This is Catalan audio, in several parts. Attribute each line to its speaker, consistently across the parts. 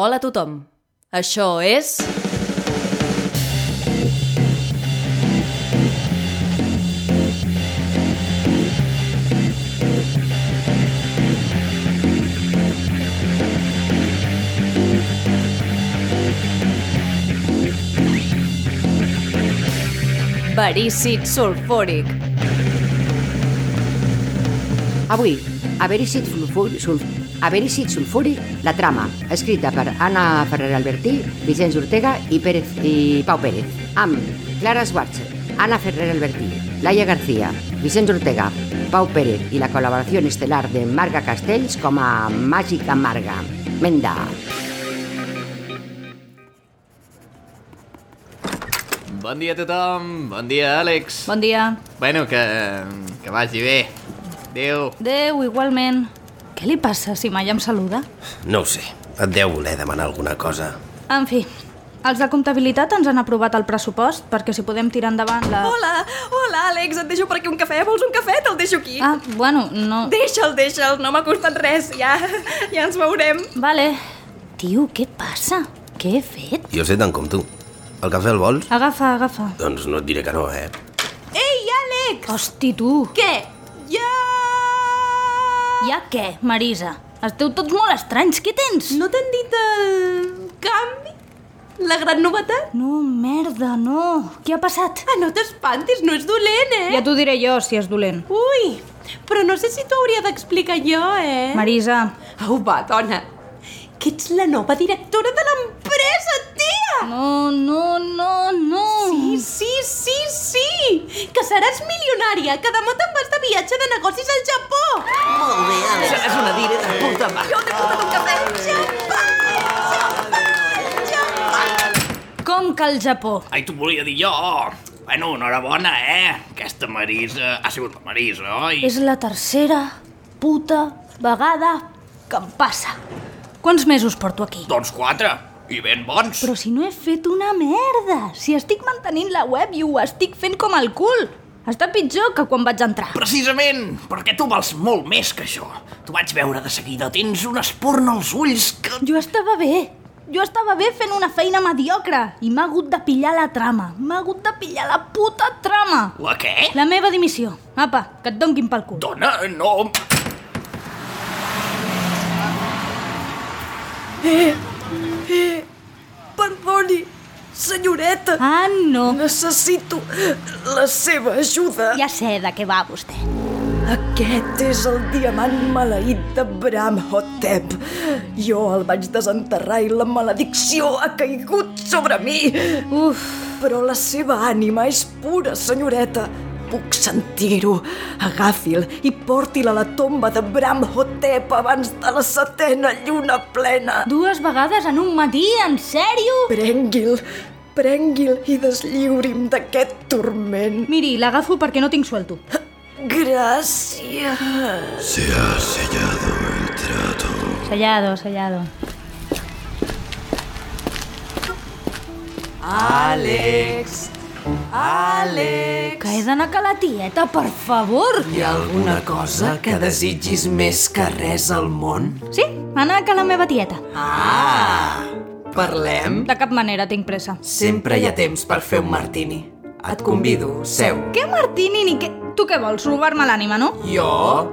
Speaker 1: Hola a tothom. Això és... Verícid sulfúric.
Speaker 2: Avui, a Verícid sulfur, sulf, a Verícid sulfuri, la trama, escrita per Anna Ferrer Albertí, Vicenç Ortega i, Pérez, i Pau Pérez, amb Clara Schwarzer, Anna Ferrer Albertí, Laia García, Vicenç Ortega, Pau Pérez i la col·laboració estel·lar de Marga Castells com a Màgica Marga. Menda.
Speaker 3: Bon dia a tothom, bon dia Àlex.
Speaker 4: Bon dia.
Speaker 3: Bueno, que, que vagi bé. Adéu.
Speaker 4: Déu, igualment. Què li passa si mai em saluda?
Speaker 5: No ho sé, et deu voler demanar alguna cosa.
Speaker 4: En fi, els de comptabilitat ens han aprovat el pressupost perquè si podem tirar endavant la...
Speaker 6: Hola, hola, Àlex, et deixo per aquí un cafè. Vols un cafè? Te'l deixo aquí.
Speaker 4: Ah, bueno, no...
Speaker 6: Deixa'l, deixa'l, no m'ha costat res. Ja, ja ens veurem.
Speaker 4: Vale. Tio, què passa? Què he fet?
Speaker 5: Jo sé tant com tu. El cafè el vols?
Speaker 4: Agafa, agafa.
Speaker 5: Doncs no et diré que no, eh?
Speaker 6: Ei, Àlex!
Speaker 4: Hosti, tu!
Speaker 6: Què? Ja...
Speaker 4: Ja què, Marisa? Esteu tots molt estranys, què tens?
Speaker 6: No t'han dit el canvi? La gran novetat?
Speaker 4: No, merda, no. Què ha passat?
Speaker 6: Ah, no t'espantis, no és dolent, eh?
Speaker 4: Ja t'ho diré jo, si és dolent.
Speaker 6: Ui, però no sé si t'ho hauria d'explicar jo, eh?
Speaker 4: Marisa,
Speaker 6: Au, va, dona. Que ets la nova directora de l'empresa, tia!
Speaker 4: no, no, no, no.
Speaker 6: Sí, sí, sí, sí! Que seràs milionària, que demà te'n vas de viatge de negocis al Japó!
Speaker 3: Seràs una dire de puta mare.
Speaker 6: Jo t'he portat un cafè al Japó! Japó! Japó!
Speaker 4: Com que al Japó?
Speaker 3: Ai, t'ho volia dir jo. Bueno, enhorabona, eh? Aquesta Marisa... Ha sigut la Marisa, oi?
Speaker 4: És la tercera puta vegada que em passa. Quants mesos porto aquí?
Speaker 3: Doncs quatre. I ben bons.
Speaker 4: Però si no he fet una merda! Si estic mantenint la web i ho estic fent com el cul! Està pitjor que quan vaig entrar.
Speaker 3: Precisament, perquè tu vals molt més que això. T'ho vaig veure de seguida. Tens una espurna als ulls que...
Speaker 4: Jo estava bé. Jo estava bé fent una feina mediocre i m'ha hagut de pillar la trama. M'ha hagut de pillar la puta trama.
Speaker 3: La què?
Speaker 4: La meva dimissió. Apa, que et donguin pel cul.
Speaker 3: Dona, no...
Speaker 7: Perdoni, senyoreta.
Speaker 4: Ah, no.
Speaker 7: Necessito la seva ajuda.
Speaker 4: Ja sé de què va vostè.
Speaker 7: Aquest és el diamant maleït de Bram Hotep. Jo el vaig desenterrar i la maledicció ha caigut sobre mi.
Speaker 4: Uf,
Speaker 7: Però la seva ànima és pura, senyoreta. Puc sentir-ho. Agafi'l i porti'l a la tomba de Bram Hotep abans de la setena lluna plena.
Speaker 4: dues vegades en un matí, en sèrio?
Speaker 7: Prengui'l, prengui'l i deslliuri'm d'aquest torment.
Speaker 4: Miri, l'agafo perquè no tinc suelto.
Speaker 7: Gràcies.
Speaker 4: Sellado, sellado. Àlex! Àlex! Que he d'anar a la tieta, per favor!
Speaker 5: Hi ha alguna cosa que desitgis més que res al món?
Speaker 4: Sí, anar a la meva tieta.
Speaker 8: Ah! Parlem?
Speaker 4: De cap manera tinc pressa.
Speaker 8: Sempre hi ha temps per fer un martini. Et convido, seu.
Speaker 4: Què martini ni què... Tu què vols, robar-me l'ànima, no?
Speaker 8: Jo?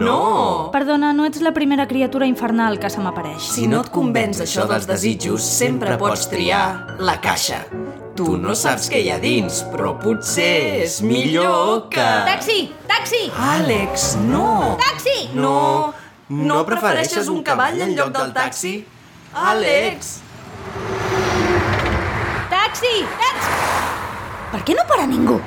Speaker 8: No!
Speaker 4: Perdona, no ets la primera criatura infernal que se m'apareix.
Speaker 8: Oh! Si no et convenç això dels desitjos, sempre pots triar la caixa. Tu no saps què hi ha dins, però potser és millor que...
Speaker 4: Taxi! Taxi!
Speaker 8: Àlex, no!
Speaker 4: Taxi!
Speaker 8: No! No prefereixes un cavall en lloc del taxi? Àlex!
Speaker 4: Taxi! Taxi! Per què no para ningú?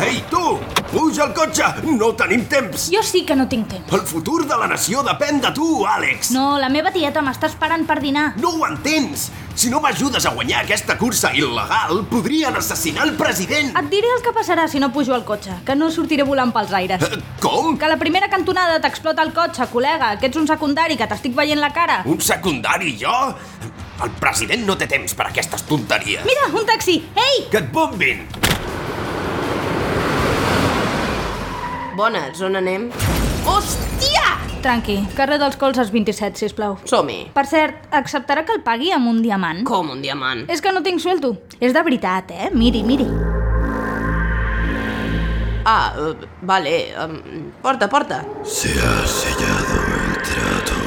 Speaker 9: Ei, tu! Puja al cotxe! No tenim temps!
Speaker 4: Jo sí que no tinc temps.
Speaker 9: El futur de la nació depèn de tu, Àlex!
Speaker 4: No, la meva tieta m'està esperant per dinar.
Speaker 9: No ho entens! Si no m'ajudes a guanyar aquesta cursa il·legal, podrien assassinar el president!
Speaker 4: Et diré el que passarà si no pujo al cotxe, que no sortiré volant pels aires.
Speaker 9: Eh, Com?
Speaker 4: Que a la primera cantonada t'explota el cotxe, col·lega, que ets un secundari, que t'estic veient la cara.
Speaker 9: Un secundari, jo? El president no té temps per aquestes tonteries!
Speaker 4: Mira, un taxi! Ei!
Speaker 9: Que et bombin!
Speaker 6: Bones, on anem? Hòstia!
Speaker 4: Tranqui, carrer dels Colzes 27, sisplau.
Speaker 7: Som-hi.
Speaker 4: Per cert, acceptarà que el pagui amb un diamant?
Speaker 7: Com un diamant?
Speaker 4: És que no tinc sueldo. És de veritat, eh? Miri, miri.
Speaker 7: Ah, eh, vale. em, Porta, porta.
Speaker 9: Se ha sellado el trato.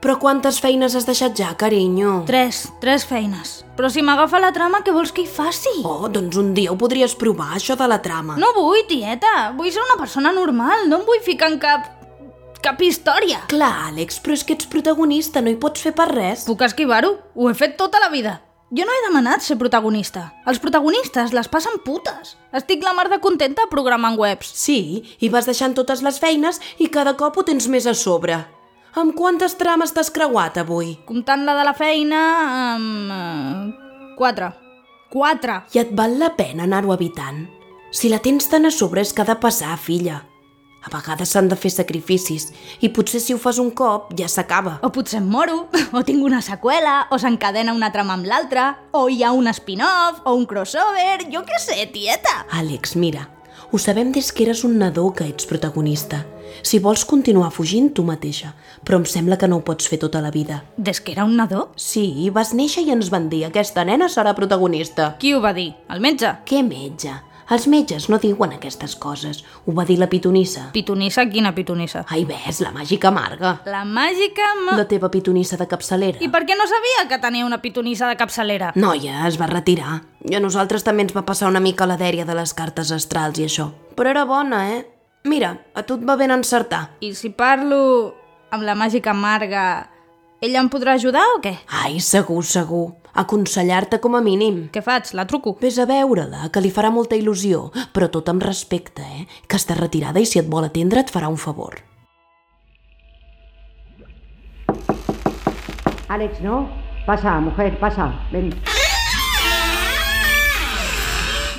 Speaker 10: Però quantes feines has deixat ja, carinyo?
Speaker 4: Tres, tres feines. Però si m'agafa la trama, què vols que hi faci?
Speaker 10: Oh, doncs un dia ho podries provar, això de la trama.
Speaker 4: No vull, tieta. Vull ser una persona normal. No em vull ficar en cap... cap història.
Speaker 10: Clar, Àlex, però és que ets protagonista, no hi pots fer per res.
Speaker 4: Puc esquivar-ho? Ho he fet tota la vida. Jo no he demanat ser protagonista. Els protagonistes les passen putes. Estic la mar de contenta programant webs.
Speaker 10: Sí, i vas deixant totes les feines i cada cop ho tens més a sobre. Amb quantes trames t'has creuat avui?
Speaker 4: Comptant la de la feina... Amb... eh, Quatre. Quatre.
Speaker 10: I et val la pena anar-ho evitant. Si la tens tan a sobre és que ha de passar, filla. A vegades s'han de fer sacrificis i potser si ho fas un cop ja s'acaba.
Speaker 4: O potser em moro, o tinc una seqüela, o s'encadena una trama amb l'altra, o hi ha un spin-off, o un crossover, jo què sé, tieta.
Speaker 10: Àlex, mira, ho sabem des que eres un nadó que ets protagonista. Si vols continuar fugint, tu mateixa. Però em sembla que no ho pots fer tota la vida.
Speaker 4: Des que era un nadó?
Speaker 10: Sí, vas néixer i ens van dir aquesta nena serà protagonista.
Speaker 4: Qui ho va dir? El metge?
Speaker 10: Què metge? Els metges no diuen aquestes coses. Ho va dir la pitonissa.
Speaker 4: Pitonissa, quina pitonissa?
Speaker 10: Ai, ves, la màgica amarga.
Speaker 4: La màgica... Ma...
Speaker 10: La teva pitonissa de capçalera.
Speaker 4: I per què no sabia que tenia una pitonissa de capçalera?
Speaker 10: Noia, es va retirar. I a nosaltres també ens va passar una mica la dèria de les cartes astrals i això. Però era bona, eh? Mira, a tu et va ben encertar.
Speaker 4: I si parlo amb la màgica amarga, ella em podrà ajudar o què?
Speaker 10: Ai, segur, segur. Aconsellar-te com a mínim.
Speaker 4: Què faig? La truco?
Speaker 10: Ves a veure-la, que li farà molta il·lusió, però tot amb respecte, eh? Que està retirada i si et vol atendre et farà un favor.
Speaker 2: Alex, no. Pasa, mujer, pasa. Ven.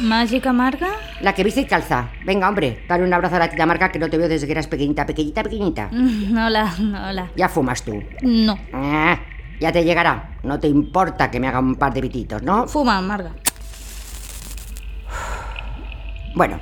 Speaker 4: Màgica amarga?
Speaker 2: La que viste y calza. Venga, hombre, dale un abrazo a la tita marca que no te veo desde que eras pequeñita, pequeñita, pequeñita.
Speaker 4: Mm, Hola, hola.
Speaker 2: Ya fumas tú.
Speaker 4: No.
Speaker 2: Ah, ya te llegará. No te importa que me haga un par de pititos, ¿no?
Speaker 4: Fuma, amarga.
Speaker 2: Bueno,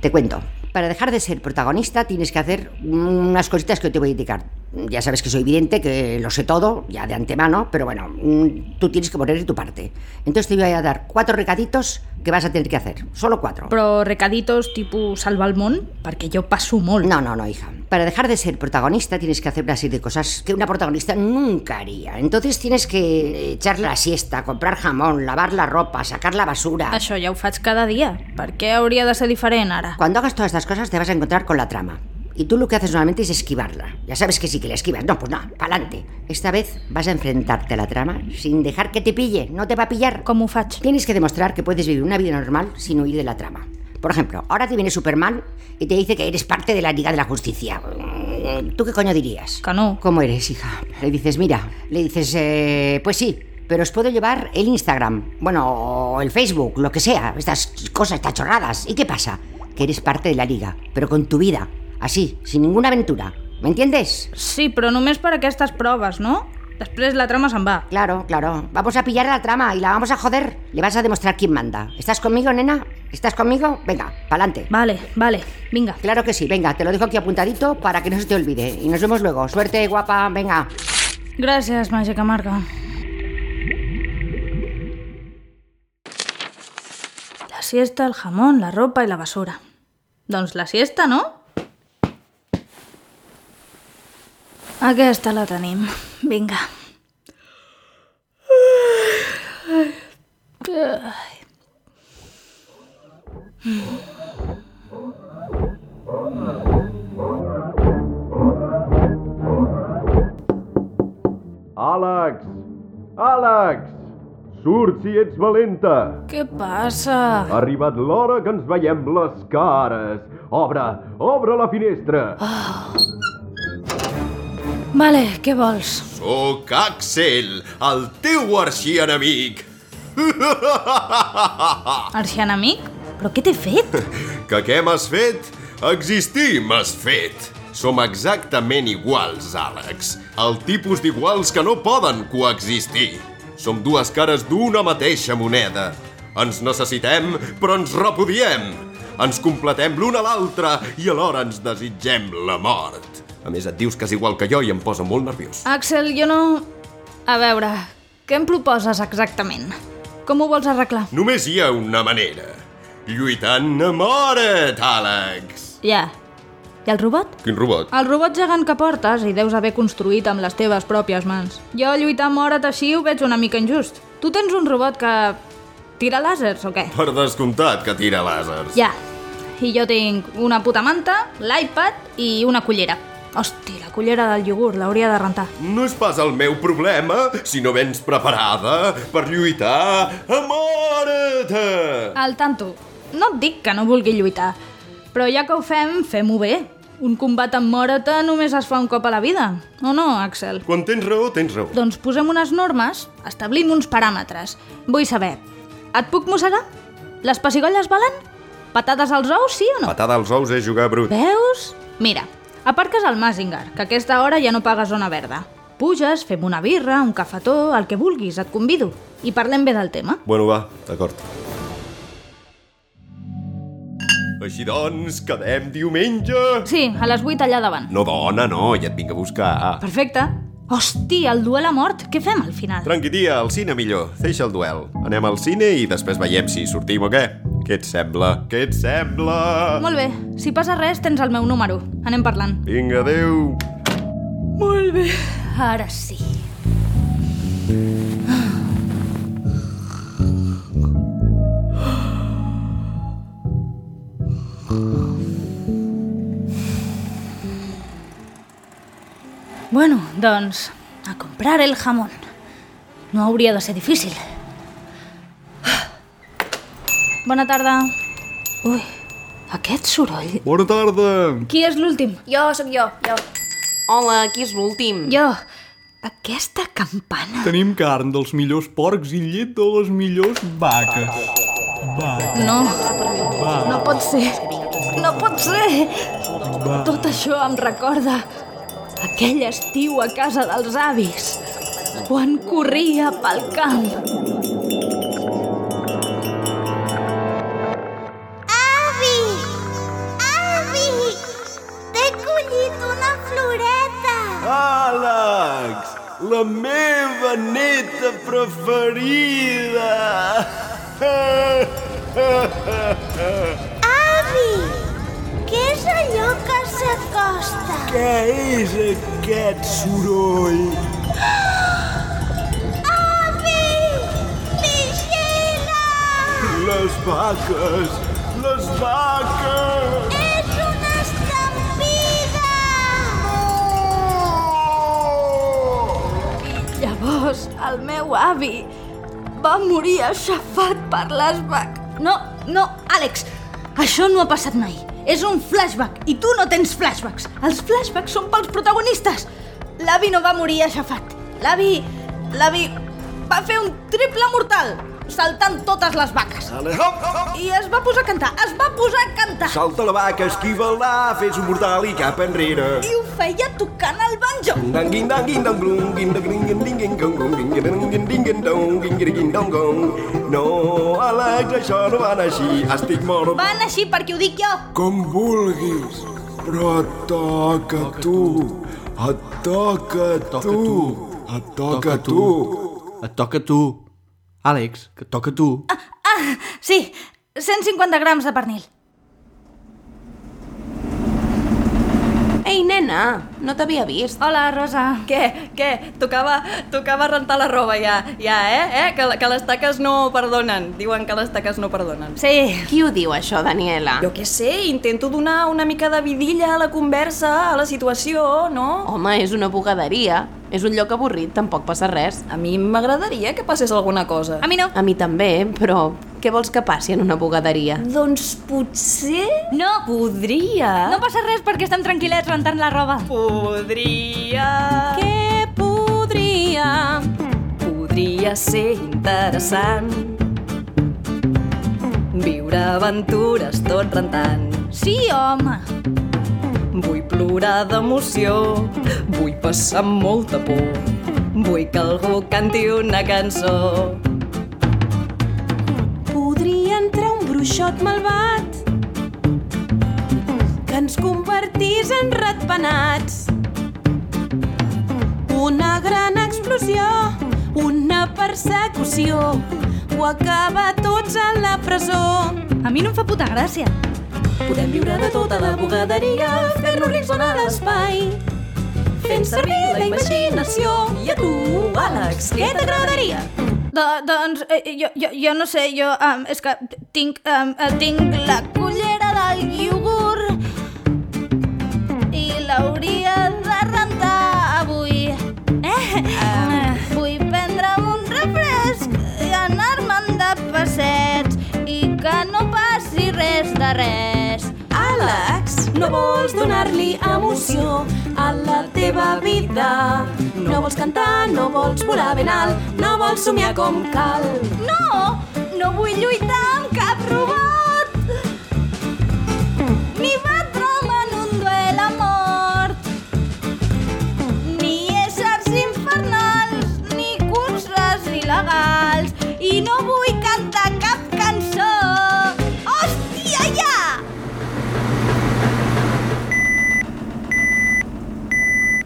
Speaker 2: te cuento. Para dejar de ser protagonista tienes que hacer unas cositas que te voy a indicar. Ya sabes que soy vidente, que lo sé todo, ya de antemano, pero bueno, mm, tú tienes que poner de tu parte. Entonces te voy a dar cuatro recaditos que vas a tener que hacer. Solo cuatro.
Speaker 4: Però recaditos tipus salvar el món? Perquè jo passo molt.
Speaker 2: No, no, no, hija. Para dejar de ser protagonista tienes que hacer una serie de cosas que una protagonista nunca haría. Entonces tienes que echarle la siesta, comprar jamón, lavar la ropa, sacar la basura.
Speaker 4: Això ja ho faig cada dia. Per què hauria de ser diferent ara?
Speaker 2: Cuando hagas todas estas cosas te vas a encontrar con la trama. Y tú lo que haces normalmente es esquivarla. Ya sabes que sí que la esquivas. No, pues no, pa'lante. Esta vez vas a enfrentarte a la trama sin dejar que te pille. No te va a pillar.
Speaker 4: Com ho faig?
Speaker 2: Tienes que demostrar que puedes vivir una vida normal sin huir de la trama. Por ejemplo, ahora te viene Superman y te dice que eres parte de la Liga de la Justicia. ¿Tú qué coño dirías?
Speaker 4: Que no.
Speaker 2: ¿Cómo eres, hija? Le dices, mira, le dices, eh, pues sí, pero os puedo llevar el Instagram, bueno, o el Facebook, lo que sea, estas cosas, estas chorradas. ¿Y qué pasa? Que eres parte de la liga, pero con tu vida, así, sin ninguna aventura. ¿Me entiendes?
Speaker 4: Sí, però només per aquestes proves, no? Després la trama se'n va.
Speaker 2: Claro, claro. Vamos a pillar la trama y la vamos a joder. Le vas a demostrar quién manda. ¿Estás conmigo, nena? ¿Estás conmigo? Venga, pa'lante.
Speaker 4: Vale, vale, vinga.
Speaker 2: Claro que sí, venga, te lo dejo aquí apuntadito para que no se te olvide. Y nos vemos luego. Suerte, guapa, venga.
Speaker 4: Gràcies, màgica amarga. La siesta, el jamón, la ropa i la basura. Doncs la siesta, no? Aquesta la tenim. Vinga.
Speaker 11: Àlex! Àlex! Surt si ets valenta!
Speaker 4: Què passa?
Speaker 11: Ha arribat l'hora que ens veiem les cares! Obre! Obre la finestra!
Speaker 4: Vale, què vols?
Speaker 9: Soc Axel, el teu arxienemic.
Speaker 4: Arxienemic? Però què t'he fet?
Speaker 9: Que què m'has fet? Existir m'has fet. Som exactament iguals, Àlex. El tipus d'iguals que no poden coexistir. Som dues cares d'una mateixa moneda. Ens necessitem, però ens repodiem. ens completem l'un a l'altre i alhora ens desitgem la mort. A més, et dius que és igual que jo i em posa molt nerviós.
Speaker 4: Axel, jo no... A veure, què em proposes exactament? Com ho vols arreglar?
Speaker 9: Només hi ha una manera. Lluitant a mort, Àlex!
Speaker 4: Ja. I el robot?
Speaker 9: Quin robot?
Speaker 4: El robot gegant que portes i deus haver construït amb les teves pròpies mans. Jo lluitar amb hores així ho veig una mica injust. Tu tens un robot que... tira làsers o què?
Speaker 9: Per descomptat que tira làsers.
Speaker 4: Ja. I jo tinc una puta manta, l'iPad i una cullera. Hosti, la cullera del iogurt l'hauria de rentar.
Speaker 9: No és pas el meu problema si no vens preparada per lluitar a mort!
Speaker 4: Al tanto, no et dic que no vulgui lluitar, però ja que ho fem, fem-ho bé. Un combat amb Morata només es fa un cop a la vida, o no, Axel?
Speaker 9: Quan tens raó, tens raó.
Speaker 4: Doncs posem unes normes, establim uns paràmetres. Vull saber, et puc mossegar? Les pessigolles valen? Patades als ous, sí o no?
Speaker 9: Patada als ous és jugar brut.
Speaker 4: Veus? Mira, aparques al Mazinger, que a aquesta hora ja no paga zona verda. Puges, fem una birra, un cafetó, el que vulguis, et convido. I parlem bé del tema.
Speaker 9: Bueno, va, d'acord. Així doncs, quedem diumenge.
Speaker 4: Sí, a les 8 allà davant.
Speaker 9: No, dona, no, ja et vinc a buscar.
Speaker 4: Perfecte. Hosti, el duel a mort, què fem al final?
Speaker 9: Tranqui, tia, al cine millor. Deixa el duel. Anem al cine i després veiem si sortim o què. Què et sembla? Què et sembla?
Speaker 4: Molt bé, si passa res tens el meu número. Anem parlant.
Speaker 9: Vinga, adéu.
Speaker 4: Molt bé. Ara sí. Bueno, doncs, a comprar el jamón. No hauria de ser difícil. Bona tarda. Ui, aquest soroll...
Speaker 9: Bona tarda.
Speaker 4: Qui és l'últim?
Speaker 7: Jo, sóc jo, jo. Hola, qui és l'últim?
Speaker 4: Jo. Aquesta campana...
Speaker 12: Tenim carn dels millors porcs i llet de les millors vaques. Vaques.
Speaker 4: No,
Speaker 12: Vaques.
Speaker 4: no pot ser. No pot ser. Tot això em recorda aquell estiu a casa dels avis, quan corria pel camp.
Speaker 13: Avi! Avi! T'he collit una floreta!
Speaker 14: Àlex, la meva neta preferida!
Speaker 13: Avi! Què és allò que s'acosta?
Speaker 14: Què és aquest soroll?
Speaker 13: Avi! Vigila!
Speaker 14: Les vaques, les vaques!
Speaker 13: És una estampida!
Speaker 4: Llavors, el meu avi va morir aixafat per les vac... No, no, Àlex, això no ha passat mai. És un flashback, i tu no tens flashbacks. Els flashbacks són pels protagonistes. L'avi no va morir aixafat. L'avi... l'avi va fer un triple mortal, saltant totes les vaques.
Speaker 14: Ale, hop, hop, hop.
Speaker 4: I es va posar a cantar, es va posar a cantar.
Speaker 14: Salta la vaca, esquiva el la, fes un mortal i cap enrere.
Speaker 4: I ho feia tocant el banjo.
Speaker 14: Dang ding dang ding dong glung ding dong ding ding ding dong glung ding ding ding ding ding dong ding ding ding dong glung. No, Àlex, això no va anar així. Estic mort.
Speaker 4: Va anar així perquè ho dic jo.
Speaker 14: Com vulguis, però et toca a tu. Et toca a tu. Et toca a tu.
Speaker 12: Et toca a tu. Àlex, que et toca a tu.
Speaker 4: Ah, sí, 150 grams de pernil.
Speaker 10: Ei, nena, no t'havia vist.
Speaker 4: Hola, Rosa.
Speaker 7: Què? Què? Tocava, tocava rentar la roba ja, ja, eh? eh? Que, que les taques no perdonen. Diuen que les taques no perdonen.
Speaker 4: Sí.
Speaker 10: Qui ho diu, això, Daniela?
Speaker 7: Jo què sé, intento donar una mica de vidilla a la conversa, a la situació, no?
Speaker 10: Home, és una bugaderia. És un lloc avorrit, tampoc passa res.
Speaker 7: A mi m'agradaria que passés alguna cosa.
Speaker 4: A mi no.
Speaker 10: A mi també, però què vols que passi en una bugaderia?
Speaker 7: Doncs potser...
Speaker 4: No,
Speaker 7: Podria...
Speaker 4: no passa res perquè estem tranquil·lets rentant la roba.
Speaker 7: Podria...
Speaker 10: Què podria...
Speaker 7: Podria ser interessant Viure aventures tot rentant
Speaker 4: Sí, home.
Speaker 7: Vull plorar d'emoció Vull passar amb molta por Vull que algú canti una cançó
Speaker 10: Podria entrar un bruixot malvat que ens convertís en ratpenats. Una gran explosió, una persecució, ho acaba tots a la presó.
Speaker 4: A mi no em fa puta gràcia.
Speaker 10: Podem viure de tota la bugaderia, fer-nos rics a l'espai fent servir la imaginació. I a tu, Àlex, què t'agradaria?
Speaker 4: Do, doncs, eh, jo, jo, jo no sé, jo... Um, és que tinc, um, eh, tinc la cullera del iogurt i l'hauria de rentar avui. Eh? Um. Vull prendre'm un refresc i anar-me'n de passeig i que no passi res de res.
Speaker 10: Àlex, no vols donar-li emoció a la teva vida. No vols cantar, no vols volar ben alt, no vols somiar com cal.
Speaker 4: No! No vull lluitar amb cap robot! Ni batre'l en un duel a mort! Ni éssers infernals, ni curses il·legals! I no vull cantar cap cançó! Hòstia, ja!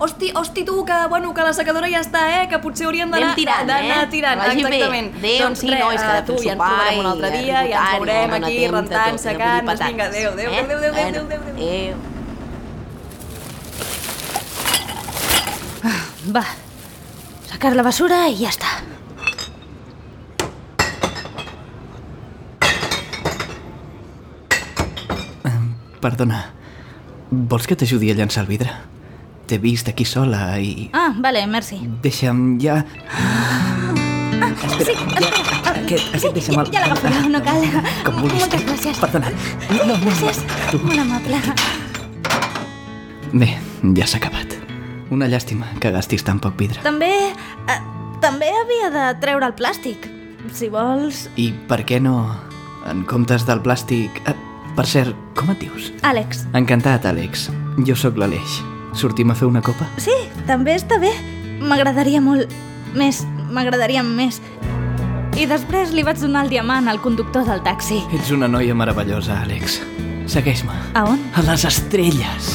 Speaker 7: Hosti, hosti tu, que, bueno, que la secadora ja està, eh? Que potser hauríem d'anar
Speaker 10: Anem tirant,
Speaker 7: d'anar
Speaker 10: eh?
Speaker 7: tirant,
Speaker 10: Que vagi bé.
Speaker 7: exactament.
Speaker 10: Adéu,
Speaker 7: doncs
Speaker 10: sí, no, és que
Speaker 7: eh,
Speaker 10: de
Speaker 7: tu
Speaker 10: fer
Speaker 7: ja ens
Speaker 10: sopar
Speaker 7: trobarem un
Speaker 10: i
Speaker 7: altre
Speaker 10: arribar
Speaker 7: dia, ja ens
Speaker 10: tard,
Speaker 7: veurem
Speaker 10: no dona
Speaker 7: aquí,
Speaker 10: temps de
Speaker 7: rentant,
Speaker 10: tot, no
Speaker 7: secant,
Speaker 10: vull
Speaker 7: doncs vinga,
Speaker 10: patates,
Speaker 7: adéu, adéu,
Speaker 10: eh?
Speaker 7: adéu, adéu,
Speaker 10: Bueno,
Speaker 7: adéu, adéu, adéu.
Speaker 10: adéu.
Speaker 4: Va, sacar la basura i ja està.
Speaker 15: Perdona. Vols que t'ajudi a llançar el vidre? T'he vist aquí sola i...
Speaker 4: Ah, vale, merci.
Speaker 15: Deixa'm ja...
Speaker 4: Sí, espera.
Speaker 15: Aquest, aquest deixa'm el...
Speaker 4: Ja l'agafo jo, no cal.
Speaker 15: Com vulguis.
Speaker 4: Moltes gràcies.
Speaker 15: Perdona. No, no,
Speaker 4: Gràcies.
Speaker 15: Tu.
Speaker 4: Molt amable.
Speaker 15: Bé, ja s'ha acabat. Una llàstima que gastis tan poc vidre.
Speaker 4: També... Eh, també havia de treure el plàstic. Si vols...
Speaker 15: I per què no, en comptes del plàstic... Eh, per cert, com et dius?
Speaker 4: Àlex.
Speaker 15: Encantat, Àlex. Jo sóc l'Aleix. Sortim a fer una copa?
Speaker 4: Sí, també està bé. M'agradaria molt. Més, m'agradaria més. I després li vaig donar el diamant al conductor del taxi.
Speaker 15: Ets una noia meravellosa, Àlex. Segueix-me.
Speaker 4: A on?
Speaker 15: A les estrelles.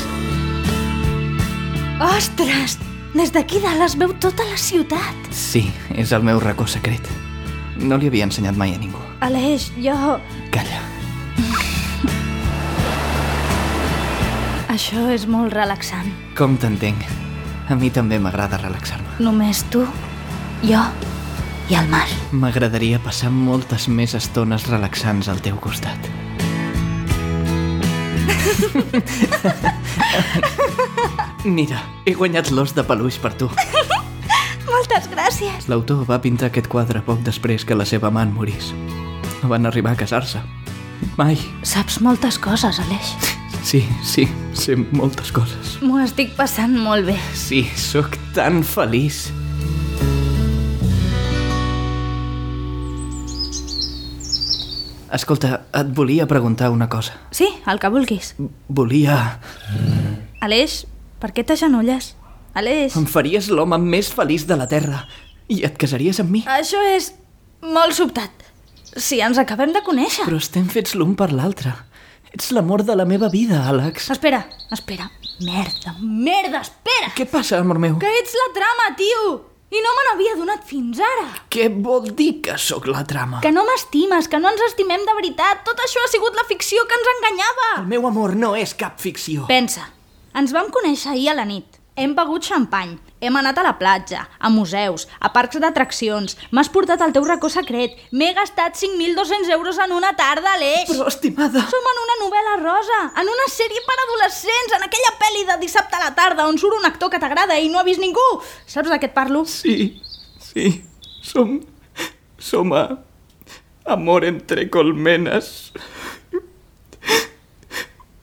Speaker 4: Ostres! Des d'aquí dalt es veu tota la ciutat.
Speaker 15: Sí, és el meu racó secret. No li havia ensenyat mai a ningú.
Speaker 4: Aleix, jo...
Speaker 15: Calla.
Speaker 4: Això és molt relaxant.
Speaker 15: Com t'entenc. A mi també m'agrada relaxar-me.
Speaker 4: Només tu, jo i el mar.
Speaker 15: M'agradaria passar moltes més estones relaxants al teu costat. Mira, he guanyat l'os de peluix per tu.
Speaker 4: Moltes gràcies.
Speaker 15: L'autor va pintar aquest quadre poc després que la seva amant morís. No van arribar a casar-se. Mai.
Speaker 4: Saps moltes coses, Aleix.
Speaker 15: Sí, sí, sé moltes coses.
Speaker 4: M'ho estic passant molt bé.
Speaker 15: Sí, sóc tan feliç. Escolta, et volia preguntar una cosa.
Speaker 4: Sí, el que vulguis.
Speaker 15: Volia...
Speaker 4: Aleix, per què t'agenolles? Aleix,
Speaker 15: Em faries l'home més feliç de la Terra i et casaries amb mi.
Speaker 4: això és molt sobtat. Si ens acabem de conèixer.
Speaker 15: Però estem fets l'un per l'altre. Ets l'amor de la meva vida, Àlex.
Speaker 4: Espera, espera. Merda, merda, espera!
Speaker 15: Què passa, amor meu?
Speaker 4: Que ets la trama, tio! I no me n'havia donat fins ara.
Speaker 15: Què vol dir que sóc la trama?
Speaker 4: Que no m'estimes, que no ens estimem de veritat. Tot això ha sigut la ficció que ens enganyava.
Speaker 15: El meu amor no és cap ficció.
Speaker 4: Pensa, ens vam conèixer ahir a la nit. Hem begut xampany, hem anat a la platja, a museus, a parcs d'atraccions, m'has portat al teu racó secret, m'he gastat 5.200 euros en una tarda, Aleix!
Speaker 15: Però, estimada...
Speaker 4: Som en una novel·la rosa, en una sèrie per adolescents, en aquella pel·li de dissabte a la tarda on surt un actor que t'agrada i no ha vist ningú! Saps de què et parlo?
Speaker 15: Sí, sí, som... som a... amor entre colmenes.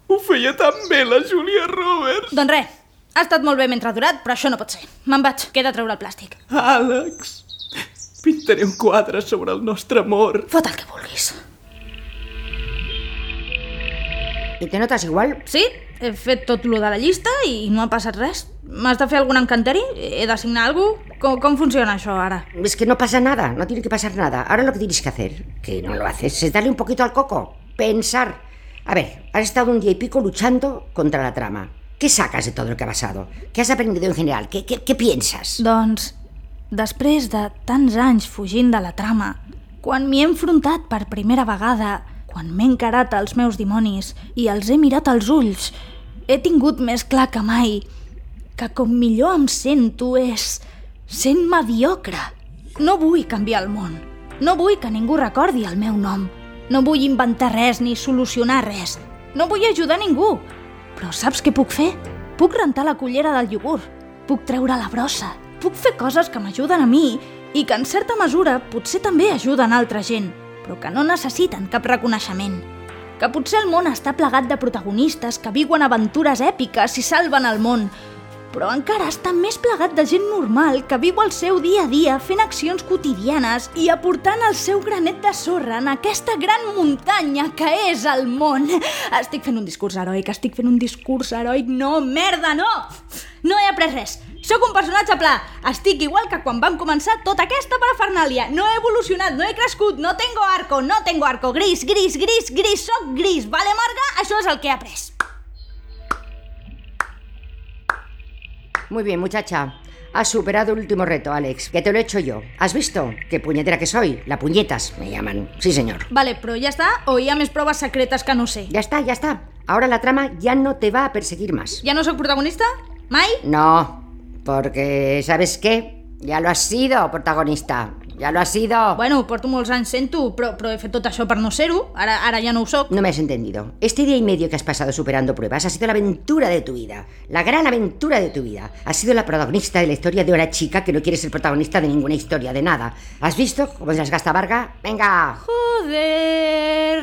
Speaker 15: Ho feia tan bé la Julia Roberts.
Speaker 4: Doncs res, ha estat molt bé mentre ha durat, però això no pot ser. Me'n vaig, que he de treure el plàstic.
Speaker 15: Àlex, pintaré un quadre sobre el nostre amor.
Speaker 4: Fot el que vulguis.
Speaker 2: I te notes igual?
Speaker 4: Sí, he fet tot lo de la llista i no ha passat res. M'has de fer algun encanteri? He de signar algú? Com, com funciona això ara?
Speaker 2: Es que no pasa nada, no tiene que pasar nada. Ahora lo que tienes que hacer, que no lo haces, es darle un poquito al coco. Pensar. A ver, has estado un día y pico luchando contra la trama. ¿Qué sacas de todo lo que ha pasado? ¿Qué has aprendido en general? ¿Qué, qué, qué piensas?
Speaker 4: Doncs, després de tants anys fugint de la trama, quan m'hi he enfrontat per primera vegada, quan m'he encarat als meus dimonis i els he mirat als ulls, he tingut més clar que mai que com millor em sento és sent mediocre. No vull canviar el món. No vull que ningú recordi el meu nom. No vull inventar res ni solucionar res. No vull ajudar ningú. Però saps què puc fer? Puc rentar la cullera del iogurt. Puc treure la brossa. Puc fer coses que m'ajuden a mi i que en certa mesura potser també ajuden a altra gent, però que no necessiten cap reconeixement. Que potser el món està plegat de protagonistes que viuen aventures èpiques i salven el món, però encara està més plegat de gent normal que viu el seu dia a dia fent accions quotidianes i aportant el seu granet de sorra en aquesta gran muntanya que és el món. Estic fent un discurs heroic, estic fent un discurs heroic. No, merda, no! No he après res. Sóc un personatge pla. Estic igual que quan vam començar tota aquesta parafernàlia. No he evolucionat, no he crescut, no tengo arco, no tengo arco. Gris, gris, gris, gris, sóc gris. Vale, Marga? Això és el que he après.
Speaker 2: Muy bien, muchacha. Has superado el último reto, Alex, que te lo he hecho yo. ¿Has visto? Qué puñetera que soy. La puñetas, me llaman. Sí, señor.
Speaker 4: Vale, però ja està o hi ha més proves secretes que no sé?
Speaker 2: Ya está, ya está. Ahora la trama ya no te va a perseguir más.
Speaker 4: Ja no sóc protagonista? Mai?
Speaker 2: No, porque ¿sabes qué? Ya lo has sido, protagonista. Ya lo has sido.
Speaker 4: Bueno, porto molts anys sent-ho, però, però he fet tot això per no ser-ho. Ara, ara ja no ho sóc.
Speaker 2: No me has entendido. Este día y medio que has pasado superando pruebas ha sido la aventura de tu vida. La gran aventura de tu vida. Has sido la protagonista de la historia de una chica que no quiere ser protagonista de ninguna historia, de nada. ¿Has visto cómo se las gasta Varga? ¡Venga!
Speaker 6: Joder!